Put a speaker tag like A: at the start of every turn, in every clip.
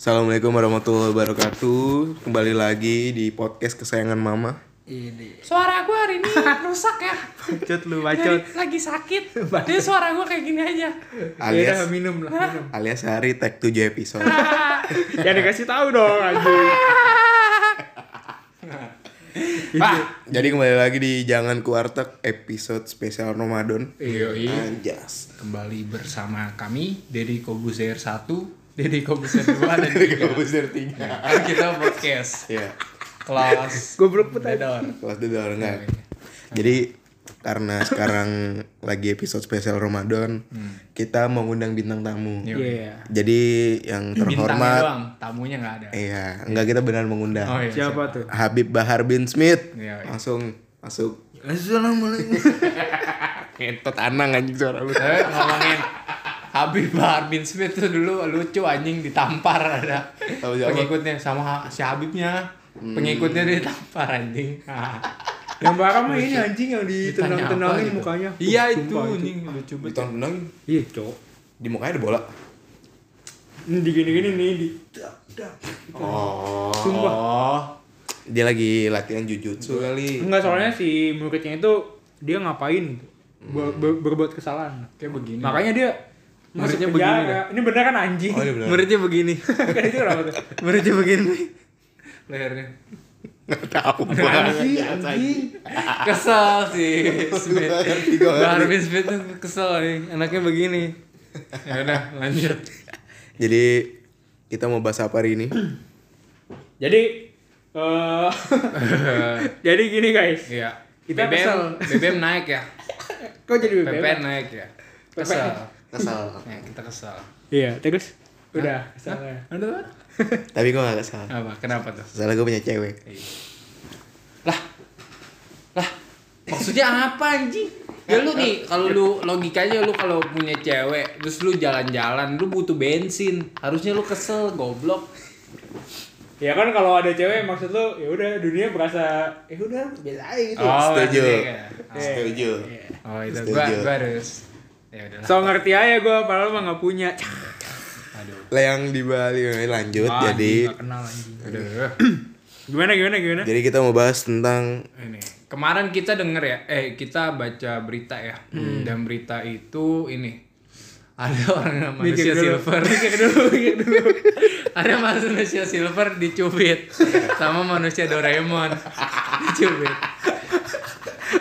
A: Assalamualaikum warahmatullahi wabarakatuh. Kembali lagi di podcast kesayangan Mama.
B: Ini.
C: Suara gue hari ini rusak ya.
B: Bacot lu,
C: Dari,
B: bacot.
C: lagi sakit.
B: Bacot.
C: Jadi suara gue kayak gini aja.
B: Ya udah
A: Alias
B: minum lah, minum.
A: alias hari tag 7 episode.
B: ya dikasih tahu dong anjing. Iya.
A: Pak, jadi kembali lagi di Jangan Kuartek episode spesial Ramadan.
B: Yoi.
A: Anjas.
B: Eh, Kembali bersama kami Deddy Kobuzer 1, Deddy Kobuzer 2 dan 3.
A: Komposer 3.
B: Kan kita podcast
A: Iya.
B: kelas goblok pedador.
A: Kelas dodol
B: Iya,
A: enggak. Jadi karena sekarang lagi episode spesial Ramadan, kita mau ngundang bintang tamu.
B: Hmm. Iya.
D: Iya.
A: Jadi yang
B: Bintangnya
A: terhormat
B: doang, tamunya nggak ada.
A: Iya, enggak kita benar mengundang.
B: Oh iya.
D: Siapa tuh?
A: Habib Bahar bin Smith.
B: Iya, iya.
A: Langsung masuk. Assalamualaikum. Ngentot anang anjing suara lu.
B: Tapi Eh, ngomongin Habib Bahar bin Smith tuh dulu lucu anjing ditampar ada
A: Tahu siapa?
B: pengikutnya sama si Habibnya pengikutnya ditampar anjing Ah,
D: Yang barang mah ini anjing yang ditendang-tendangin
B: Ditanya apa gitu?
D: mukanya.
B: iya
D: Uh,
B: itu
D: sumpah
B: anjing lucu banget
A: Ditonton dong.
D: Iya, cok.
A: Di mukanya ada bola.
D: Ini gini-gini nih di dak, dak.
A: Oh.
D: Sumpah.
B: oh
A: Dia lagi latihan jujutsu kali.
D: Enggak soalnya si muridnya itu dia ngapain gitu.
B: Hmm.
D: Ber- ber- berbuat kesalahan.
B: kayak begini
D: Makanya dia
B: Muridnya
D: masuk
B: begini iya,
D: penjara. Ini bener kan anjing? gitu
A: Oh, dia benar.
B: muridnya begini
D: Bukan itu kenapa tuh?
B: muridnya begini lehernya
A: Nggak tahu gua.
D: Anjing, anjing.
B: kesel sih Smith
A: Nggak ngerti, nggak ngerti.
B: Bahar bin Smith tuh kesel nih anaknya begini ya udah lanjut
A: Jadi kita mau bahas apa hari ini?
D: Jadi eh jadi gini guys.
B: Iya.
D: Kita
B: BBM,
D: kesel.
B: BBM naik ya.
D: Kok jadi
B: PPN
D: BBM?
B: naik ya. Kesel.
A: Kesal.
B: Ya, kita kesel.
D: Iya, terus udah kesalahan.
B: Ada apa?
A: Tapi gua nggak kesal.
B: Apa? Kenapa tuh?
A: Salah gua punya cewek.
B: Lah. Lah. Maksudnya apa anjing? Ya lu nih, kalau lu logikanya lu kalau punya cewek, terus lu jalan-jalan, lu butuh bensin. Harusnya lu kesel, goblok.
D: Ya kan kalau ada cewek maksud lu ya udah dunia berasa ya udah biasa aja gitu.
A: Setuju.
B: maksudnya kayak-
A: Setuju.
B: iya, Oh, itu gua,
A: Setuju.
B: gua harus. Ya udah.
D: Nah. So ngerti aja gue padahal mah gak punya.
B: Aduh.
A: Lah yang di Bali lanjut. Jadi
D: gak kenal anjing.
B: Aduh.
D: Gimana gimana gimana?
A: jadi kita mau bahas tentang
B: ini kemarin kita denger ya eh kita baca berita ya dan berita itu ini ada orang yang manusia
D: Mikir dulu.
B: silver
D: Mikir dulu, mikir dulu.
B: ada manusia silver dicubit sama manusia Doraemon dicubit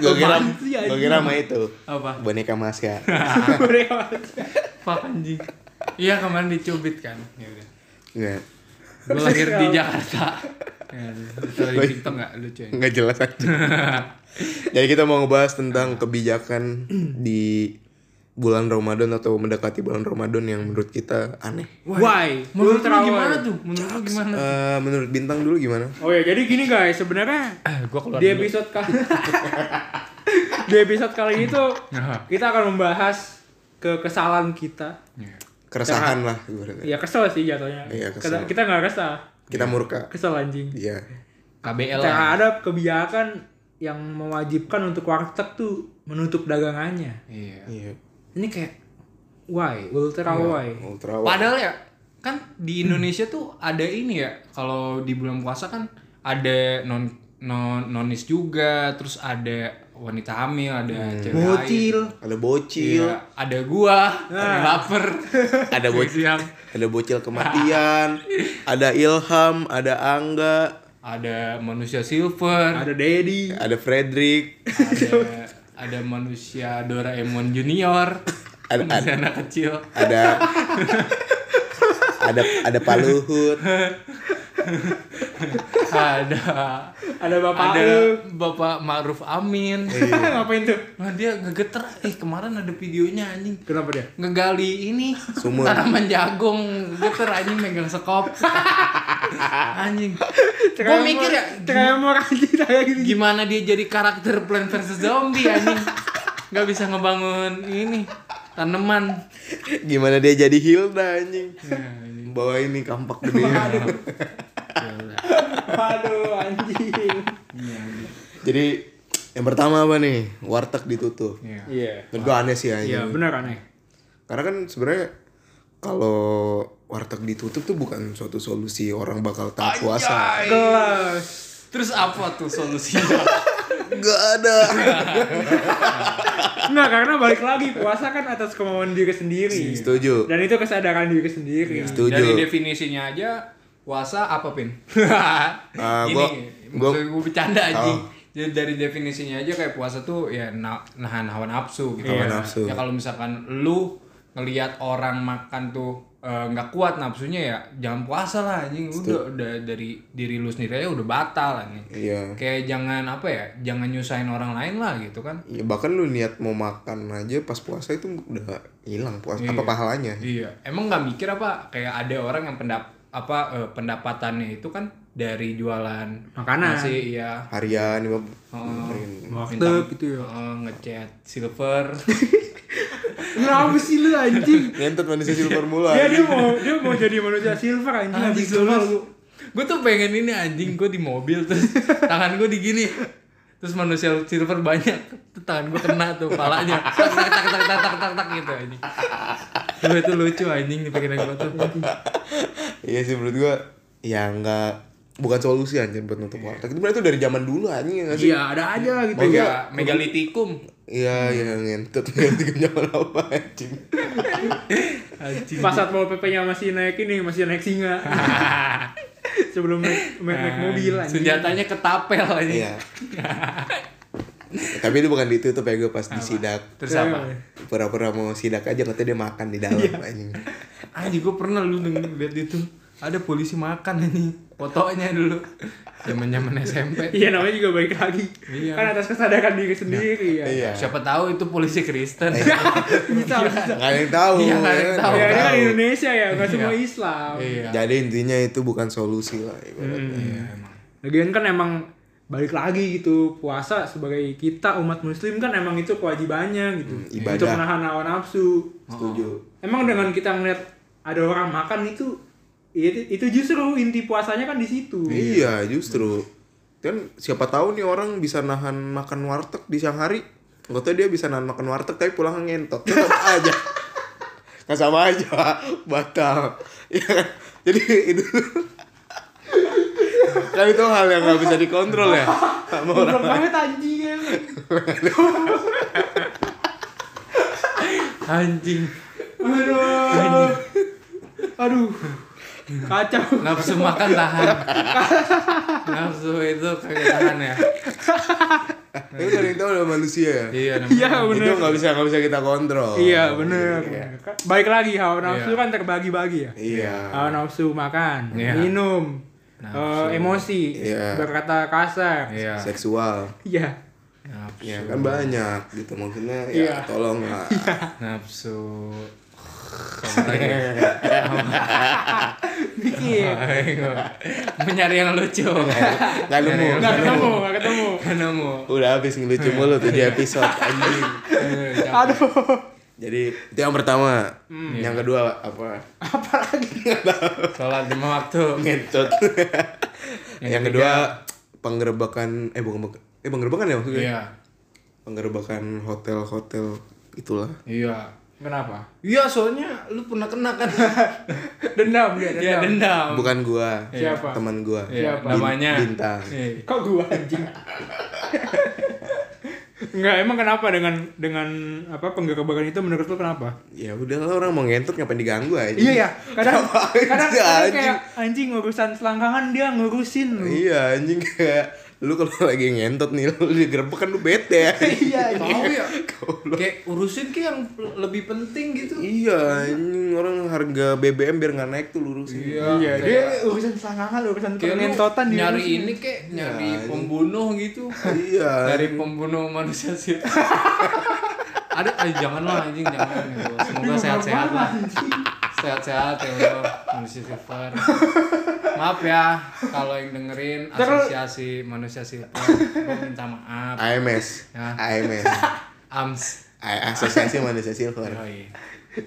A: gua kira
B: Apaan sih,
A: gua kira sama itu.
B: apa
A: Boneka Maska.
D: Boleh
B: Nah. pak anjing iya kemarin dicubit kan ya udah
A: Enggak.
B: gue lahir di Jakarta ya, itu di TikTok nggak lucu ya
A: Nggak jelas aja. Jadi kita mau ngebahas tentang kebijakan di bulan Ramadan atau mendekati bulan Ramadan yang menurut kita aneh.
D: Why?
B: menurut lu
D: Ultra
B: gimana
D: why?
B: tuh menurut lu gimana
A: Eh, menurut bintang dulu gimana?
D: Oh ya jadi gini guys sebenarnya
B: Eh, gua keluar
D: di
B: dulu.
D: episode kali di episode kali itu
B: Nah.
D: kita akan membahas ke kesalahan kita.
B: Ya.
A: Keresahan lah ibaratnya.
D: Ya kesel sih jatuhnya.
A: Iya, kesel.
D: Kita- Kita nggak kesel.
A: Kita murka.
D: Kesel anjing.
A: Iya.
B: KBL lah
D: terhadap kebijakan yang mewajibkan untuk warteg tuh menutup dagangannya.
B: iya
A: Iya.
B: ini kayak
D: Why? Ultra why?
A: Ultra wide.
B: Padahal ya kan di Indonesia tuh ada ini ya kalau di bulan puasa kan ada non non nonis juga terus ada wanita hamil ada cewek lain.
D: Bocil. Ah.
A: Ada bocil,
B: Iya, ada gua ada lapar
A: ada bocil,
B: siang
A: ada bocil kematian, ada Ilham, ada Angga,
B: ada manusia silver
D: Ada Dedi.
A: ada Frederick,
B: ada ada manusia Doraemon junior
A: Ada-
B: manusia anak kecil
A: ada ada ada Pak Luhut,
B: ada
D: Ada Bapak
B: ada
D: lu.
B: bapak Ma'ruf Amin
D: Iya. Ngapain tuh?
B: nah, dia ngegeter eh kemarin ada videonya anjing
D: Kenapa dia?
B: ngegali ini
A: Sumur.
B: tanaman jagung geter anjing megang sekop anjing gue
D: Tremor-
B: mikir ya
D: tremor anjing kayak gitu.
B: gimana dia jadi karakter Plan vs Zombie anjing nggak bisa ngebangun ini tanaman
A: gimana dia jadi Hilda anjing, bawa ini kampak gede.
D: Waduh anjing.
A: Jadi yang pertama apa nih? Warteg ditutup.
B: Iya.
D: Iya. Ya,
A: Menurut gua aneh sih anjing.
D: Iya, benar aneh.
A: Karena kan sebenarnya kalau warteg ditutup tuh bukan suatu solusi orang bakal tak puasa.
B: Terus apa tuh solusinya?
A: Gak ada.
D: Enggak, karena balik lagi puasa kan atas kemauan diri sendiri.
A: Setuju.
D: Dan itu kesadaran diri sendiri.
B: Dari
A: Setuju.
B: definisinya aja puasa apa pin?
A: Ah,
B: Ini
A: gua- gua- Oh.
B: maksud gua bercanda anjing. Jadi dari definisinya aja kayak puasa tuh ya na- nahan hawa nafsu gitu.
A: Iya, Hawa
B: ya.
A: nafsu.
B: Ya kalau misalkan lu ngelihat orang makan tuh eh, nggak kuat nafsunya ya jangan puasa lah anjing Lu udah, udah dari diri lu sendiri aja udah batal anjing.
A: Iya.
B: Kayak jangan apa ya? Jangan nyusahin orang lain lah gitu kan.
A: Ya, bahkan lu niat mau makan aja pas puasa itu udah hilang puasa apa pahalanya?
B: Iya, emang nggak mikir apa kayak ada orang yang pendap apa eh, pendapatannya itu kan dari jualan
D: Makanan.
B: nasi ya
A: Harian lima-
D: Waktu gitu ya.
B: ngechat eh, silver
D: Kenapa sih lu anjing?
A: Ngentot manusia silver mula.
D: Iya, Dia dia mau dia mau jadi manusia silver anjing habis dulu lu.
B: gue tuh pengen ini anjing gue di mobil terus tangan gue digini terus manusia silver banyak Tuh tangan gue kena tuh palanya tak tak tak tak tak tak tak, tak gitu anjing Tuh, itu lucu anjing di pikiran gue tuh
A: Iya sih menurut gua ya enggak bukan solusi anjir buat nutup warteg. Itu berarti dari zaman dulu anjing ya nggak sih?
D: Iya, ada aja gitu.
B: mega megalitikum
A: Iya, iya ngentot ngentot zaman apa anjing.
B: anjing
D: Pas satpol PP-nya masih naik ini, masih naik singa. Sebelum naik, naik, naik mobil anjing.
B: senjatanya ketapel anjing
A: Iya. Tapi itu bukan ditutup ya gue pas di sidak.
B: terus
D: Iya,
B: apa
A: Pura-pura mau sidak aja katanya dia makan di dalam anjing.
B: Anjing gue pernah lu denger lihat itu ada polisi makan ini fotonya dulu zaman zaman SMP.
D: Iya namanya juga balik lagi.
B: Iya.
D: Kan atas kesadaran diri sendiri ya.
A: Iya.
B: Siapa tahu itu polisi Kristen.
D: Bisa bisa.
A: Nggak ada yang tahu.
B: Iya, nggak ada yang
A: kan? Nggak
D: Ya
B: tahu.
D: ini kan
A: tahu.
D: Indonesia ya, nggak semua Islam.
B: iya.
A: Jadi intinya itu bukan solusi lah ibaratnya.
D: Hmm. Lagian kan emang balik lagi gitu puasa sebagai kita umat muslim kan emang itu kewajibannya gitu
A: Hmm, ibadah.
D: untuk menahan hawa nafsu
A: Setuju.
D: emang dengan kita ngeliat ada orang makan itu itu, itu justru inti puasanya kan di situ
A: Iya, justru. Kan siapa tahu nih orang bisa nahan makan warteg di siang hari. Enggak tahu dia bisa nahan makan warteg tapi pulang ngentot. Tetap aja. Kan sama aja, batal. Iya kan? Jadi itu kan itu hal yang nggak bisa dikontrol ya sama
D: Goblok
A: orang
D: banget anjing ya.
B: Anjing
D: Aduh. Aduh. Kacau.
B: nafsu makan tahan. nafsu itu kagak tahan ya.
A: itu kan itu udah manusia ya
B: Iya namanya.
D: Iya
A: itu
D: bener.
A: nggak bisa nggak bisa kita kontrol
D: Iya bener. Baik lagi hawa nafsu
B: Iya.
D: kan terbagi-bagi ya.
A: iya
D: Hawa nafsu makan,
B: Iya.
D: minum,
B: Nafsu.
D: eh, emosi,
A: Iya.
D: berkata kasar.
B: Iya.
A: seksual
D: Iya.
B: Nafsu.
A: ya kan banyak gitu maksudnya ya
D: Iya.
A: tolong lah
B: Nafsu. Kamu lagi.
D: Mikir.
B: Ayo. Mencari yang lucu.
A: nggak nemu
D: Nggak ketemu, nggak ketemu.
B: Nemu.
A: udah habis ngelucu mulu tuh di episode anjing
B: Eh, jangan.
D: Aduh.
A: Iya, jadi itu yang pertama
B: Hmm.
A: yang
B: Iya.
A: kedua apa
B: Sholat lima waktu.
A: ngentot yang, kedua penggerebekan eh bukan pengge- eh penggerebekan ya maksudnya
B: Iya.
A: penggerebekan hotel-hotel itulah
B: Iya.
D: Kenapa?
B: Iya soalnya lu pernah kena kan
D: Dendam dia, dendam.
B: Iya dendam.
A: bukan gua
D: Siapa?
A: teman gua
B: Iya,
D: Siapa?
B: namanya
A: bintang
B: Iya.
D: Kok gua anjing? Enggak, emang kenapa dengan dengan apa penggerebekan itu menurut lu kenapa?
A: ya udah lah orang mau ngentot ngapain diganggu aja
D: Iya ya, kadang
A: Ngapain
D: kadang,
A: sih,
D: kadang
A: anjing?
D: kayak anjing urusan selangkangan dia ngurusin lu.
A: iya anjing kayak lu kalau lagi ngentot nih lu digerebek kan lu bete
D: Iya,
B: Tahu ya. Kayak urusin ke yang lebih penting gitu.
A: iya anjing orang harga BBM biar nggak naik tuh lurusin
D: Iya, dia urusan selangkangan, urusan
B: Kayak lu
D: pengentotan dia.
B: nyari
D: ngurusin.
B: Ya, ini kayak nyari pembunuh gitu.
A: iya
B: Dari pembunuh manusia sih. Ada ah, janganlah anjing jangan gitu.
D: Iya,
B: Semoga sehat-sehat lah. Sehat-sehat ya Allah, manusia silver. Maaf ya kalau yang dengerin asosiasi manusia silver. Gua minta maaf.
A: AMS
B: Ya.
A: AMS
B: Ams.
A: A- Asosiasi Manusia Silver
B: Yoi.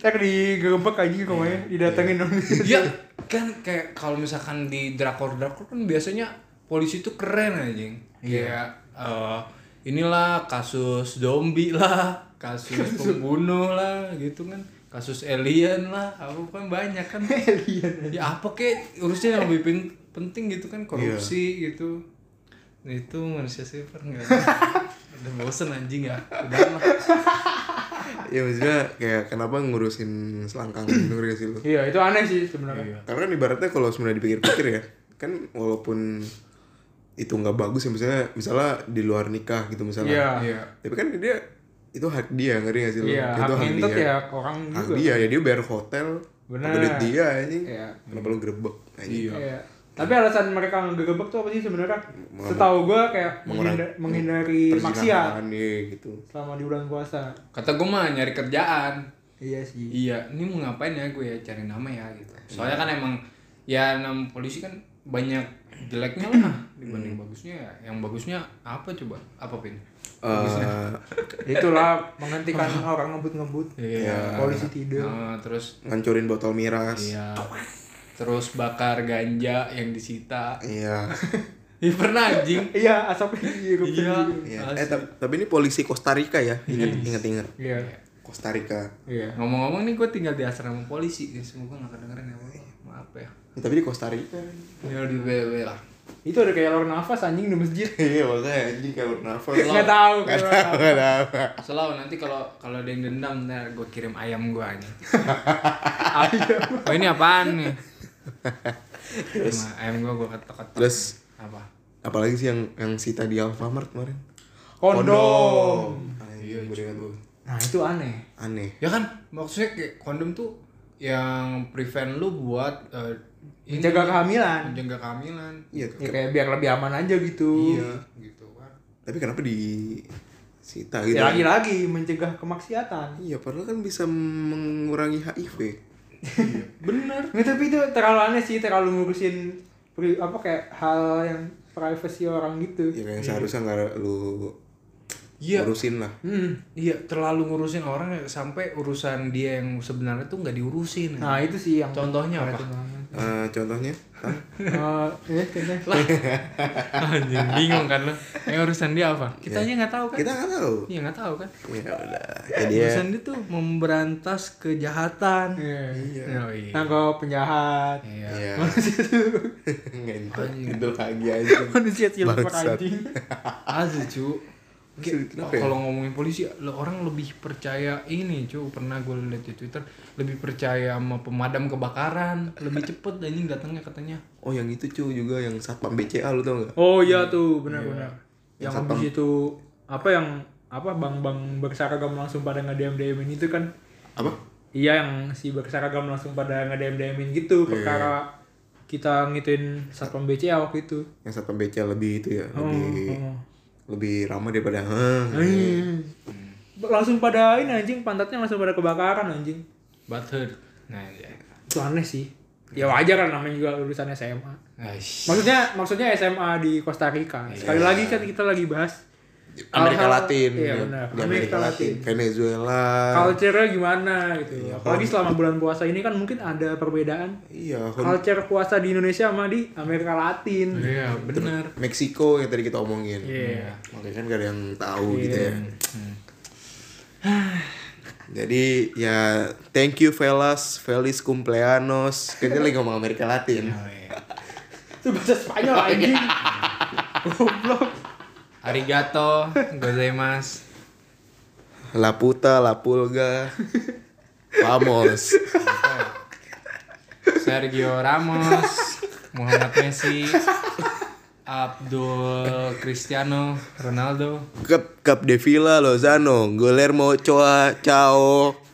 D: Ntar digerebek anjing rumahnya, didatengin dong.
B: Iya kan kayak kalau misalkan di drakor drakor kan biasanya polisi itu keren anjing. Kayak eh, inilah kasus zombie lah, kasus pembunuh lah gitu kan. kasus alien lah apa kan banyak kan ya apa kek urusnya yang lebih pen- penting gitu kan korupsi gitu nah itu manusia silver nggak udah bosen anjing ya udah lah
A: ya maksudnya kayak kenapa ngurusin selangkang gitu ngerti gak sih lu
D: Iya, itu aneh sih sebenarnya.
A: karena kan ibaratnya kalau sebenarnya dipikir-pikir ya kan walaupun itu nggak bagus ya misalnya misalnya di luar nikah gitu misalnya
D: Iya.
B: iya
A: tapi kan dia itu hak dia ngerti gak sih lu
D: Iya,
A: itu
D: hak mintet ya ke orang
A: hak
D: juga.
A: dia ya dia bayar hotel
D: Bener.
A: pakai duit dia anjing
D: Iya.
A: kenapa lu grebek anjing
B: Iya.
D: Iya. Tapi alasan mereka ngegebek tuh apa sih sebenarnya? Setahu gua kayak menghinda- menghindari
A: Perzinahan,
D: maksiat
A: hmm, iya, gitu
D: selama di bulan puasa.
B: kata gue mah nyari kerjaan
D: Iya sih.
B: iya ini mau ngapain ya gue ya cari nama ya gitu soalnya kan emang ya nama polisi kan banyak jeleknya lah dibanding bagusnya ya. yang bagusnya apa coba apa pin
D: Iya.
A: Eh,
D: Itulah menghentikan orang ngebut-ngebut.
A: Iya.
D: Polisi tidur.
B: Nah, terus
A: ngancurin botol miras
B: iya terus bakar ganja yang disita
A: iya
B: ya pernah anjing
D: Iya, asapnya dihirup
B: iya
A: Iya.
B: asli.
A: Eh, tapi, tapi ini polisi Costa Rica ya. Ingat ingat ingat.
D: Iya.
A: Costa Rica.
D: Iya.
B: ngomong-ngomong nih gue tinggal di asrama polisi ya semoga nggak kedengeran ya Boy. maaf ya
A: Ya, tapi di Costa Rica.
B: ya di BW lah
D: Itu ada kayak lor nafas anjing di masjid.
A: Iya, makanya anjing kalau nafas.
D: Enggak tahu.
A: Enggak tahu, enggak tahu.
B: Selalu nanti kalau kalau ada yang dendam ntar gue kirim ayam gue aja. oh ini apaan nih? Sama ayam gue gue ketok ketok.
A: Terus
B: Apa?
A: apalagi sih yang yang sita di Alfamart kemarin?
D: Kondom.
A: Iya, gue
D: Nah, itu aneh.
A: Aneh.
B: Ya kan maksudnya kayak kondom tuh yang prevent lu buat eh, ini,
D: Menjaga kehamilan.
B: menjaga kehamilan.
A: Iya.
D: Ya kayak biar lebih aman aja gitu.
B: Iya, gitu kan.
A: Tapi kenapa di sita gitu?
D: Ya lagi-lagi mencegah kemaksiatan.
A: Iya, padahal kan bisa mengurangi HIV.
B: Bener.
D: Nggak, Nah, tapi itu terlalu aneh sih, terlalu ngurusin pri- apa kayak hal yang privacy orang gitu.
A: Ya kayak yang seharusnya enggak lu
B: Iya.
A: urusin lah.
D: Hmm.
B: Iya, terlalu ngurusin orang ya, sampai urusan dia yang sebenarnya tuh nggak diurusin.
D: Nah, Iya, itu sih yang
B: Contohnya apa?
A: Eh, contohnya, Hah?
D: Eh, ya, contohnya.
B: Anjing, bingung kan lo. Yang urusan dia apa? Kita aja nggak tahu kan.
A: kita nggak tahu.
B: Iya nggak tahu kan.
A: Ya udah. Ya dia
B: Urusan dia tuh memberantas kejahatan.
D: Iya.
B: Oh, iya.
D: Nangkep penjahat.
B: Iya.
A: Iya.
D: Manusia itu
A: Ngentot itu lagi aja.
D: manusia silver
A: Bangsat.
D: anjing.
B: Asli cu. Kayak,
A: Kenapa ya?
B: Kalau ngomongin polisi, lo- orang lebih percaya ini cu. Pernah gue lihat di Twitter, lebih percaya sama pemadam kebakaran, lebih cepet anjing datangnya katanya.
A: Oh yang itu cu juga yang satpam BCA lu tau nggak?
D: Oh iya tuh, benar-benar.
A: Yang
D: Yang habis itu apa yang apa bang-bang berseragam langsung pada nge-DM DM-in itu kan.
A: Apa?
D: Iya yang si berseragam langsung pada nge-DM DM-in gitu perkara kita ngituin satpam BCA waktu itu.
A: Yang satpam BCA lebih itu ya lebih
D: oh. Iya.
A: lebih ramah daripada "Hah,
D: Langsung pada ini anjing pantatnya langsung pada kebakaran anjing.
B: Butter. Nah, iya.
D: Itu aneh sih. Ya wajar kan namanya juga lulusan SMA.
B: Aish.
D: Maksudnya maksudnya SMA di Costa Rica. Sekali lagi kan kita lagi bahas
A: gitu. Amerika
D: hal-hal-
A: Latin,
D: Iya
A: ya.
D: benar.
A: di Amerika Latin, Venezuela,
D: Culture-nya gimana gitu. Apalagi selama bulan puasa ini kan mungkin ada perbedaan
A: iya, Hon-
D: culture puasa di Indonesia sama di Amerika Latin.
B: Iya, benar.
A: Meksiko yang tadi kita omongin,
D: Iya.
A: makanya kan gak ada yang tahu gitu ya. Jadi ya thank you fellas, feliz cumpleaños. Kita lagi ngomong Amerika Latin.
B: Oh, iya.
D: Itu bahasa Spanyol anjing. Goblok.
B: Arigato, gozaimasu.
A: La puta, la pulga. Vamos.
B: Sergio Ramos, Muhammad Messi, Abdul Cristiano Ronaldo,
A: Cup Cup de Villa Lozano, Guillermo Ochoa, Chao,